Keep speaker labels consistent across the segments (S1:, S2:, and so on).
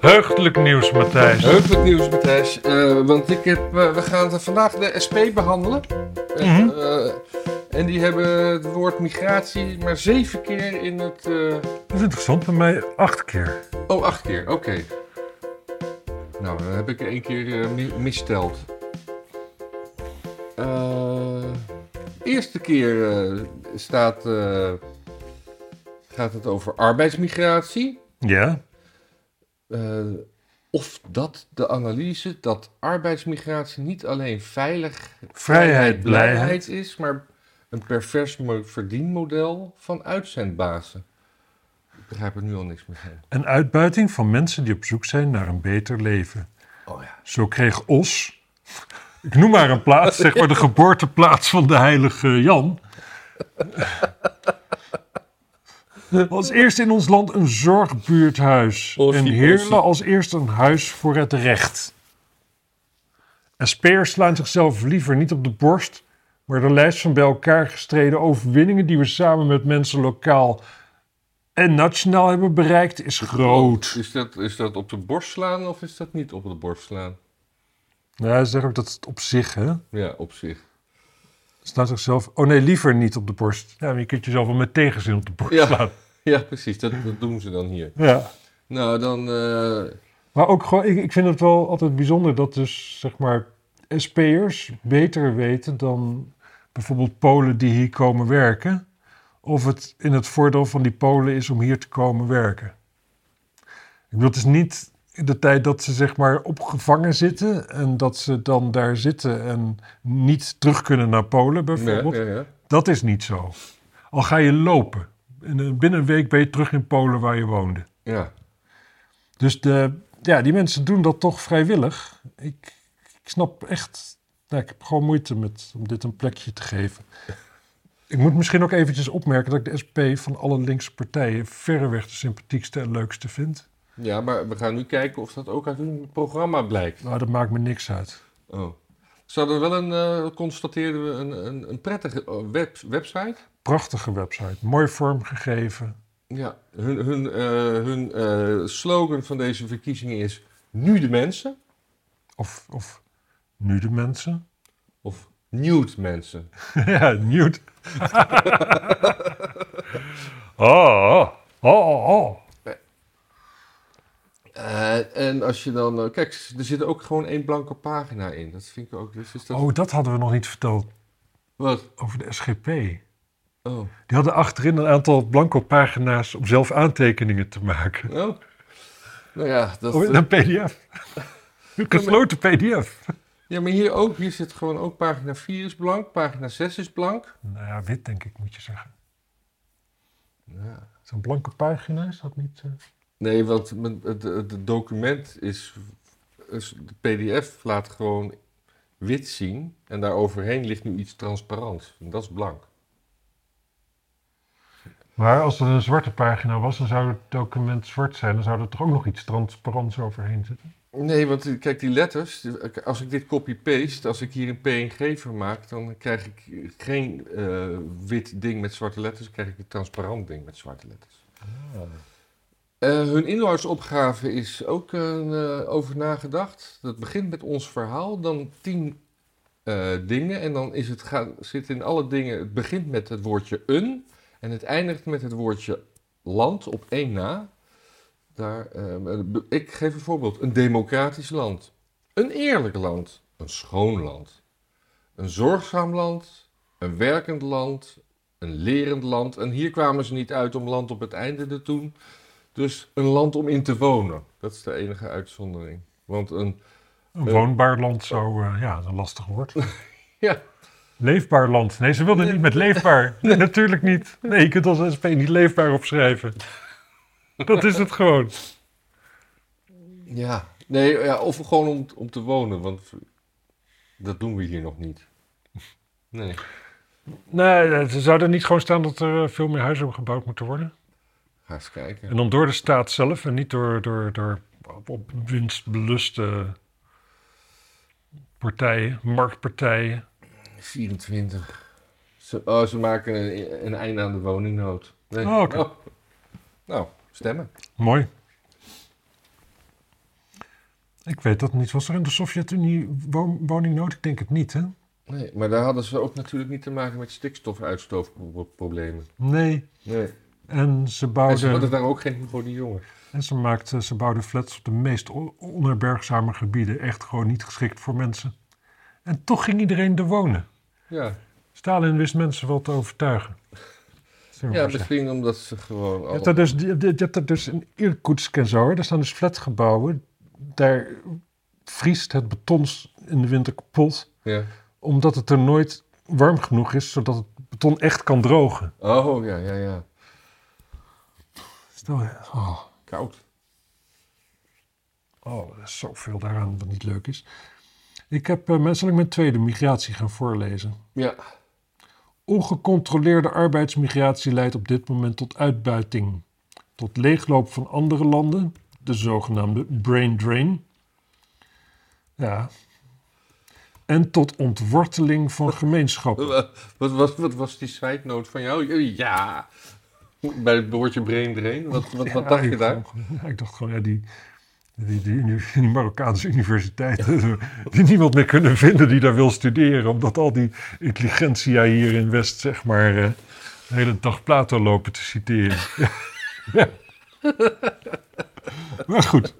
S1: Heugelijk nieuws, Matthijs.
S2: Heugelijk nieuws, Matthijs. Eh, want ik heb, eh, we gaan eh, vandaag de SP behandelen. Eh,
S1: Mhm.
S2: eh, en die hebben het woord migratie maar zeven keer in het... eh,
S1: Dat is interessant, bij mij acht keer.
S2: Oh, acht keer, oké. Nou, dan heb ik er één keer eh, mi- missteld. Eh, eerste keer eh, staat, eh, gaat het over arbeidsmigratie.
S1: Ja,
S2: Eh, of dat de analyse dat arbeidsmigratie niet alleen veilig
S1: vrijheid, blijheid.
S2: blijheid is, maar een pervers mo- verdienmodel van uitzendbazen. Ik begrijp er nu al niks meer van.
S1: En uitbuiting van mensen die op zoek zijn naar een beter leven.
S2: Oh ja.
S1: Zo kreeg Os, ik noem maar een plaats, zeg maar de geboorteplaats van de heilige Jan. Als eerste in ons land een zorgbuurthuis.
S2: Ossie,
S1: en Heerlen als eerste een huis voor het recht. SP'ers slaan zichzelf liever niet op de borst, maar de lijst van bij elkaar gestreden overwinningen die we samen met mensen lokaal en nationaal hebben bereikt is groot.
S2: Is dat, is dat op de borst slaan of is dat niet op de borst slaan?
S1: Ja, ze zeggen ook dat het op zich, hè?
S2: Ja, op zich.
S1: Slaat zichzelf. Oh nee, liever niet op de borst. Ja, maar je kunt jezelf wel met tegenzin op de borst
S2: Ja.
S1: slaan.
S2: Ja, precies. Dat, dat doen ze dan hier.
S1: Ja.
S2: Nou, dan... eh,
S1: Maar ook gewoon, ik, ik vind het wel altijd bijzonder dat dus, zeg maar, SP'ers beter weten dan bijvoorbeeld Polen die hier komen werken. Of het in het voordeel van die Polen is om hier te komen werken. Ik bedoel, het is niet de tijd dat ze zeg maar opgevangen zitten en dat ze dan daar zitten en niet terug kunnen naar Polen bijvoorbeeld.
S2: ja, ja, ja.
S1: Dat is niet zo. Al ga je lopen. In een- Binnen een week ben je terug in Polen waar je woonde.
S2: ja.
S1: Dus de, ja, die mensen doen dat toch vrijwillig. Ik, ik snap echt... Nou, ik heb gewoon moeite met, om dit een plekje te geven. Ik moet misschien ook eventjes opmerken dat ik de SP van alle linkse partijen... verreweg de sympathiekste en leukste vind.
S2: ja, maar we gaan nu kijken of dat ook uit hun programma blijkt.
S1: Maar Nou, dat maakt me niks uit.
S2: Oh. Ze hadden wel een, eh constateerden we, een, een, een prettige eh, web, website.
S1: Prachtige website, mooi vormgegeven.
S2: Ja, hun, hun, eh, hun eh, slogan van deze verkiezingen is nu de mensen
S1: Of, of nu de mensen.
S2: of nude mensen.
S1: ja, nude. oh, oh, oh, oh.
S2: Eh, en als je dan, eh, kijk, er zit ook gewoon één blanke pagina in. Dat vind ik ook, dus is dat...
S1: Oh, dat hadden we nog niet verteld
S2: Wat?
S1: over de SGP. Die
S2: Oh.
S1: hadden achterin een aantal blanco pagina's om zelf aantekeningen te maken.
S2: oh. Nou ja, dat...
S1: Oh,
S2: eh,
S1: in een pdf. Een gesloten pdf.
S2: ja, maar hier ook, hier zit gewoon ook pagina 4 is blank, pagina 6 is blank.
S1: Nou ja, wit denk ik, moet je zeggen.
S2: Ja.
S1: Zo'n blanke pagina is dat niet... eh?
S2: Nee, want men- het, het- het document is, is, de pdf laat gewoon wit zien en daaroverheen ligt nu iets transparants. En dat is blank.
S1: Maar als er een zwarte pagina was, dan zou het document zwart zijn. Dan zou er toch ook nog iets transparants overheen zitten.
S2: Nee, want eh, kijk, die letters, als ik dit copy-paste, als ik hier een PNG van maak, dan krijg ik geen eh, wit ding met zwarte letters, dan krijg ik een transparant ding met zwarte letters.
S1: Ah.
S2: Eh, hun inhoudsopgave is ook een, eh, over nagedacht. Dat begint met ons verhaal, dan tien eh, dingen en dan is het gaan, zit in alle dingen, het begint met het woordje een en het eindigt met het woordje land op één na. Daar, ehm, be- ik geef een voorbeeld. Een democratisch land. Een eerlijk land. Een schoon land. Een zorgzaam land. Een werkend land. Een lerend land. En hier kwamen ze niet uit om land op het einde te doen. Dus een land om in te wonen. Dat is de enige uitzondering. Want een.
S1: Een
S2: Eh.
S1: woonbaar land zou... eh, ja, dat is een lastig woord.
S2: Ja,
S1: Leefbaar land. Nee, ze wilden niet met leefbaar. Nee, natuurlijk niet. Nee, je kunt als SP niet leefbaar opschrijven. Dat is het gewoon.
S2: ja. Nee, ja, of gewoon om, om te wonen. Want dat doen we hier nog niet. Nee.
S1: Nee, ze zouden niet gewoon staan dat er eh, veel meer huizen gebouwd moeten worden.
S2: Ga eens kijken.
S1: En dan door de staat zelf en niet door, door, door op- op winstbeluste partijen, marktpartijen.
S2: 24. Ze, oh, ze maken een, een einde aan de woningnood. Nee.
S1: Oh, oké.
S2: Nou, nou, stemmen.
S1: Mooi. Ik weet dat niet. Was er in de Sovjet-Unie wo- woningnood? Ik denk het niet, hè?
S2: Nee, maar daar hadden ze ook natuurlijk niet te maken met stikstofuitstootproblemen.
S1: Nee.
S2: Nee.
S1: En ze
S2: En Oh, ze
S1: bouwden,
S2: hadden daar ook geen voor die jongen.
S1: en ze maakten, ze bouwden flats op de meest on- onherbergzame gebieden. Echt gewoon niet geschikt voor mensen. En toch ging iedereen er wonen.
S2: Ja,
S1: Stalin wist mensen wel te overtuigen. Zullen we
S2: Oh, ja
S1: maar zeggen.
S2: misschien omdat ze gewoon...
S1: Je hebt, daar
S2: Al...
S1: dus, je hebt daar dus in Irkutsk en zo, hè, daar staan dus flatgebouwen. Daar vriest het beton in de winter kapot,
S2: Ja.
S1: omdat het er nooit warm genoeg is, zodat het beton echt kan drogen.
S2: Oh, ja, ja, ja.
S1: Stel, oh,
S2: Koud.
S1: oh, er is zoveel daaraan wat niet leuk is. Ik heb, eh, zal ik mijn tweede migratie gaan voorlezen?
S2: Ja.
S1: Ongecontroleerde arbeidsmigratie leidt op dit moment tot uitbuiting, tot leegloop van andere landen, de zogenaamde brain drain. Ja. En tot ontworteling van gemeenschappen.
S2: Wat, wat, wat was die zijtnoot van jou? Ja. Bij het woordje brain drain. Wat, wat, wat
S1: Ja,
S2: dacht je
S1: ik
S2: daar?
S1: gewoon- ja, ik dacht gewoon, ja, die, die, die, uni- die Marokkaanse universiteiten, die niemand meer kunnen vinden die daar wil studeren, omdat al die intelligentia hier in West, zeg maar, eh, de hele dag Plato lopen te citeren. ja. Maar goed.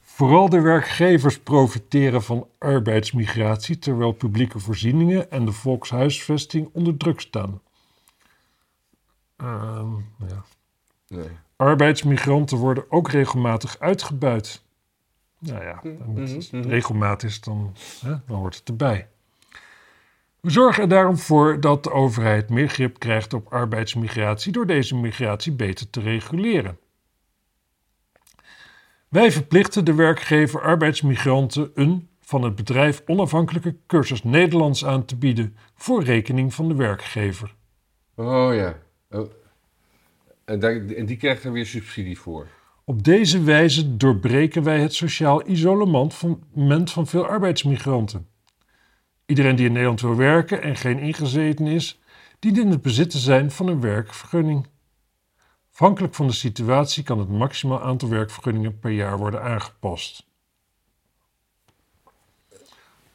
S1: Vooral de werkgevers profiteren van arbeidsmigratie, terwijl publieke voorzieningen en de volkshuisvesting onder druk staan. Ehm, ja.
S2: Nee.
S1: Arbeidsmigranten worden ook regelmatig uitgebuit. Nou ja,
S2: Mhm,
S1: als het
S2: mhm.
S1: regelmatig is, dan, hè, dan hoort het erbij. We zorgen er daarom voor dat de overheid meer grip krijgt op arbeidsmigratie door deze migratie beter te reguleren. Wij verplichten de werkgever arbeidsmigranten een van het bedrijf onafhankelijke cursus Nederlands aan te bieden voor rekening van de werkgever.
S2: Oh, ja. Oh. En, daar, en die krijgt er weer subsidie voor.
S1: Op deze wijze doorbreken wij het sociaal isolement van, ment van veel arbeidsmigranten. Iedereen die in Nederland wil werken en geen ingezeten is, dient in het bezit te zijn van een werkvergunning. Afhankelijk van de situatie kan het maximaal aantal werkvergunningen per jaar worden aangepast.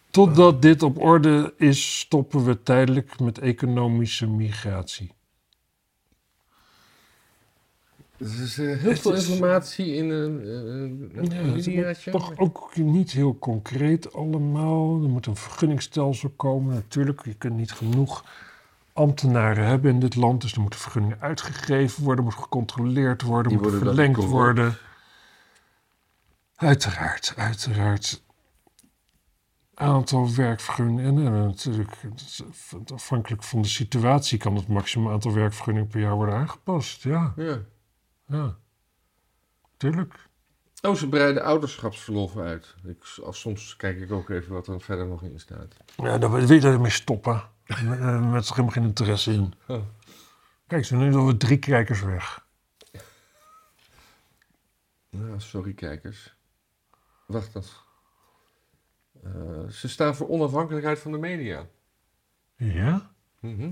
S1: Totdat dit op orde is, stoppen we tijdelijk met economische migratie.
S2: Dus er is eh, heel
S1: Het
S2: veel
S1: is-
S2: informatie in een, eh, een
S1: Ja, het is
S2: familiejaartje.
S1: toch ook niet heel concreet allemaal. Er moet een vergunningstelsel komen. Natuurlijk, je kunt niet genoeg ambtenaren hebben in dit land. Dus er moeten vergunningen uitgegeven worden, moet gecontroleerd worden,
S2: Die
S1: moet
S2: worden dan
S1: verlengd
S2: gecontroleerd.
S1: worden. Uiteraard, uiteraard. Aantal werkvergunningen. En, eh, natuurlijk, het is afhankelijk van de situatie kan het maximum aantal werkvergunningen per jaar worden aangepast. Ja,
S2: Ja.
S1: ja. Tuurlijk.
S2: Oh, ze breiden ouderschapsverlof uit. Ik, als soms kijk ik ook even wat er verder nog in staat.
S1: Ja, daar wil je ermee stoppen. Met- eh, Met zich helemaal geen interesse in.
S2: Oh.
S1: Kijk, ze doen alweer drie kijkers weg.
S2: Ja, Nou, sorry kijkers. Wacht dat. Eh, ze staan voor onafhankelijkheid van de media.
S1: Ja?
S2: Mhm.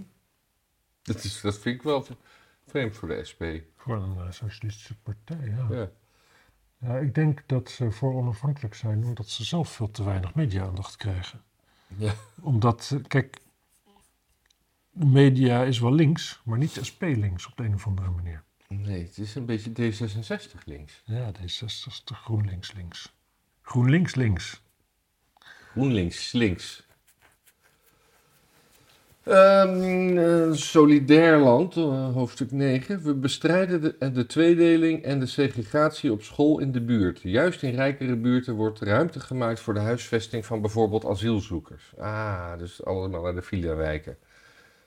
S2: dat, is, dat vind ik wel vreemd voor de SP.
S1: Gewoon een eh, socialistische partij, ja. ja.
S2: Ja.
S1: Ik denk dat ze voor onafhankelijk zijn omdat ze zelf veel te weinig media-aandacht krijgen.
S2: Ja.
S1: Omdat, eh, kijk, de media is wel links, maar niet SP links op de een of andere manier.
S2: Nee, het is een beetje D66 links.
S1: Ja, D66 is de GroenLinks links. GroenLinks links.
S2: GroenLinks links. Ehm, eh, Solidair land, eh, hoofdstuk 9. We bestrijden de, de tweedeling en de segregatie op school in de buurt. Juist in rijkere buurten wordt ruimte gemaakt voor de huisvesting van bijvoorbeeld asielzoekers. Ah, dus allemaal naar de villa-wijken.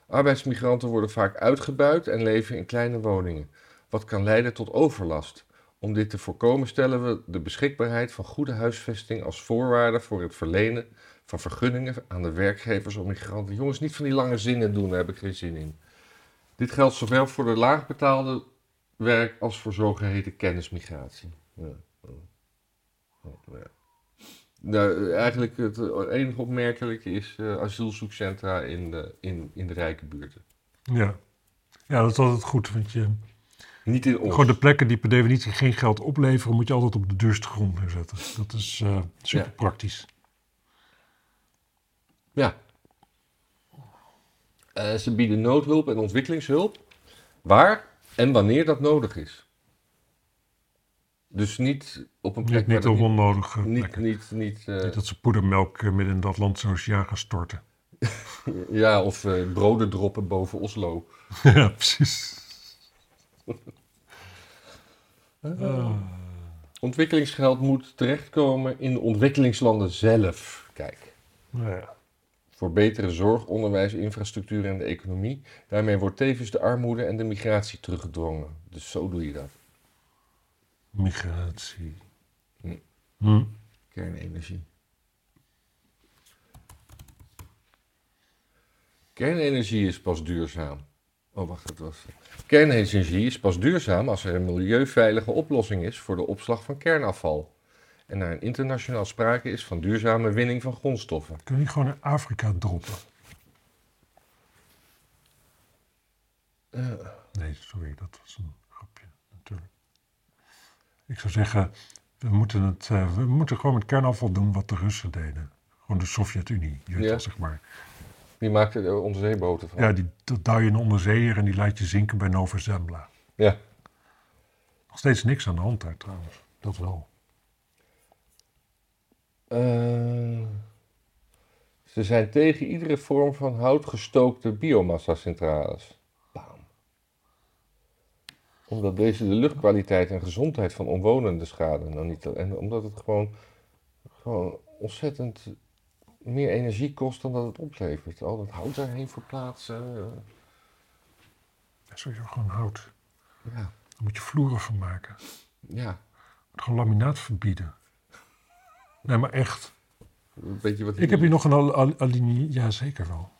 S2: Arbeidsmigranten worden vaak uitgebuit en leven in kleine woningen, wat kan leiden tot overlast. Om dit te voorkomen stellen we de beschikbaarheid van goede huisvesting als voorwaarde voor het verlenen van vergunningen aan de werkgevers om migranten. Jongens, niet van die lange zinnen doen, daar heb ik geen zin in. Dit geldt zowel voor de laagbetaalde werk als voor zogeheten kennismigratie. Ja. Ja. Ja. Nou, eigenlijk het enige opmerkelijke is eh, asielzoekcentra in de, in, in de rijke buurten.
S1: Ja. ja, dat is altijd goed, want je,
S2: Niet in ons.
S1: Gewoon de plekken die per definitie geen geld opleveren, moet je altijd op de duurste grond neerzetten. Dat is eh, super praktisch.
S2: Ja. Eh, ze bieden noodhulp en ontwikkelingshulp waar en wanneer dat nodig is. Dus niet op een
S1: Niet,
S2: plek
S1: niet
S2: waar
S1: op
S2: dat
S1: onnodige
S2: niet, niet,
S1: plekken.
S2: niet, niet, eh,
S1: Niet dat ze poedermelk eh, midden in het Atlantische Oceaan gaan storten.
S2: ja, of eh, broden droppen boven Oslo.
S1: ja, precies. Ah.
S2: Ontwikkelingsgeld moet terechtkomen in de ontwikkelingslanden zelf. Kijk.
S1: Nou ja.
S2: voor betere zorg, onderwijs, infrastructuur en de economie. Daarmee wordt tevens de armoede en de migratie teruggedrongen. Dus zo doe je dat.
S1: Migratie.
S2: Hm.
S1: Hm.
S2: Kernenergie. Kernenergie is pas duurzaam. Oh, wacht, dat was. Kernenergie is pas duurzaam als er een milieuveilige oplossing is voor de opslag van kernafval. En er een internationaal sprake is van duurzame winning van grondstoffen.
S1: Kun je niet gewoon naar Afrika droppen? Eh. Nee, sorry, dat was een grapje, natuurlijk. Ik zou zeggen, we moeten, het, eh, we moeten gewoon met kernafval doen wat de Russen deden. Gewoon de Sovjet-Unie, je weet
S2: Ja.
S1: wel, zeg maar.
S2: Die maakt er onze zeeboten van.
S1: Ja, die, dat duw je een onderzeeër en die laat je zinken bij Nova Zembla.
S2: ja.
S1: Nog steeds niks aan de hand daar trouwens. Dat wel.
S2: Eh, ze zijn tegen iedere vorm van houtgestookte biomassa-centrales. Bam. Omdat deze de luchtkwaliteit en gezondheid van omwonenden schaden. Nou niet, en omdat het gewoon, gewoon ontzettend meer energie kost dan dat het oplevert. Al dat hout daarheen verplaatsen. eh,
S1: Dat is sowieso gewoon hout.
S2: Ja.
S1: Daar moet je vloeren van maken.
S2: ja,
S1: Gewoon laminaat verbieden. Nee, maar echt.
S2: een beetje wat
S1: Ik heb hier nog een al- al- alinea. Ja, zeker wel.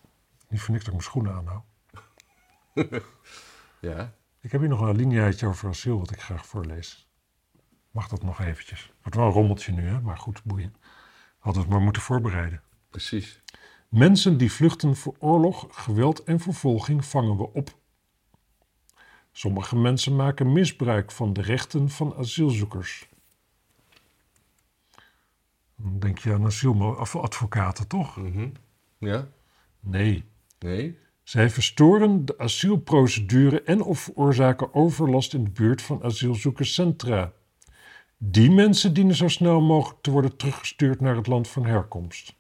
S1: Niet voor niks dat ik mijn schoenen aanhoud.
S2: Ja,
S1: Ik heb hier nog een alineaatje over asiel wat ik graag voorlees. Mag dat nog eventjes? Wordt wel een rommeltje nu, hè? maar goed, boeien. Hadden we het maar moeten voorbereiden.
S2: precies.
S1: Mensen die vluchten voor oorlog, geweld en vervolging vangen we op. Sommige mensen maken misbruik van de rechten van asielzoekers. Dan denk je aan asieladvocaten, toch?
S2: Mhm. Ja?
S1: Nee.
S2: Nee?
S1: Zij verstoren de asielprocedure en of veroorzaken overlast in de buurt van asielzoekerscentra. Die mensen dienen zo snel mogelijk te worden teruggestuurd naar het land van herkomst.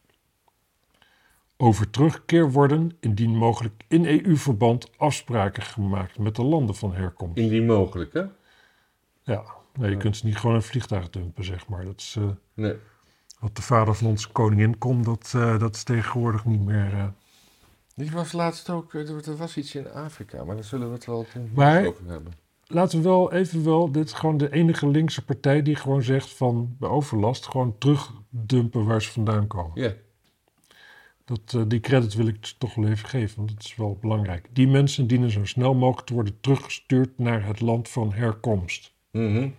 S1: Over terugkeer worden, indien mogelijk in EU-verband, afspraken gemaakt met de landen van herkomst.
S2: Indien mogelijk, hè?
S1: Ja, nee, je kunt ze niet gewoon in een vliegtuig dumpen, zeg maar. Dat is eh,
S2: Nee.
S1: wat de vader van onze koningin kon, dat, eh, dat is tegenwoordig niet meer... eh,
S2: Ik was laatst ook, eh, er er was iets in Afrika, maar daar zullen we het wel toen
S1: Maar-
S2: eens over hebben.
S1: laten we wel even wel, dit is gewoon de enige linkse partij die gewoon zegt van bij overlast gewoon terugdumpen waar ze vandaan komen.
S2: Ja,
S1: Dat, eh, die credit wil ik t- toch wel even geven, want dat is wel belangrijk. Die mensen dienen zo snel mogelijk te worden teruggestuurd naar het land van herkomst.
S2: Mhm.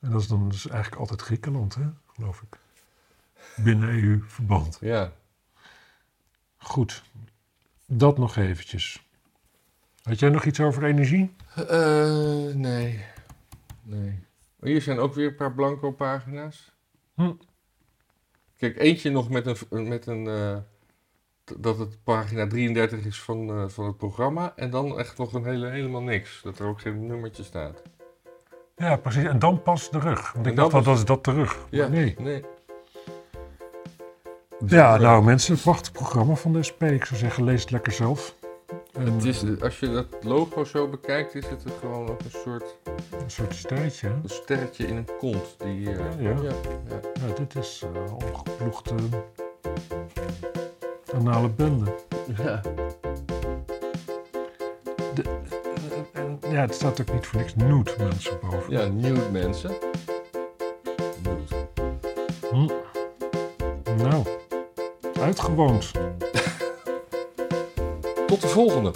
S1: En dat is dan dus eigenlijk altijd Griekenland, hè? geloof ik. Binnen E EU-verband.
S2: ja.
S1: Goed, dat nog eventjes. Had jij nog iets over energie?
S2: Eh, nee. Nee. Oh, Hier zijn ook weer een paar blanco pagina's.
S1: Hm.
S2: Kijk, eentje nog met een, v- met een eh, t- dat het pagina 33 is van, eh, van het programma. En dan echt nog een hele, helemaal niks. Dat er ook geen nummertje staat.
S1: Ja, precies. En dan pas de rug. Want
S2: En
S1: ik
S2: dan
S1: dacht al,
S2: pas-
S1: dat is dat de rug. Maar Nee.
S2: Nee.
S1: Ja, nou mensen, prachtig programma van de SP. Ik zou zeggen, lees het lekker zelf. En eh,
S2: Het is, als je dat logo zo bekijkt, is het gewoon ook een soort
S1: Een soort sterretje. hè?
S2: een sterretje in een kont. Die, eh,
S1: Ja.
S2: ja.
S1: Ja, dit is eh ongeploegde anale bende.
S2: Ja. Eh,
S1: En ja, het staat ook niet voor niks nude mensen boven.
S2: Ja, nude mensen. Nude.
S1: Hm. Nou, uitgewoond.
S2: Tot de volgende.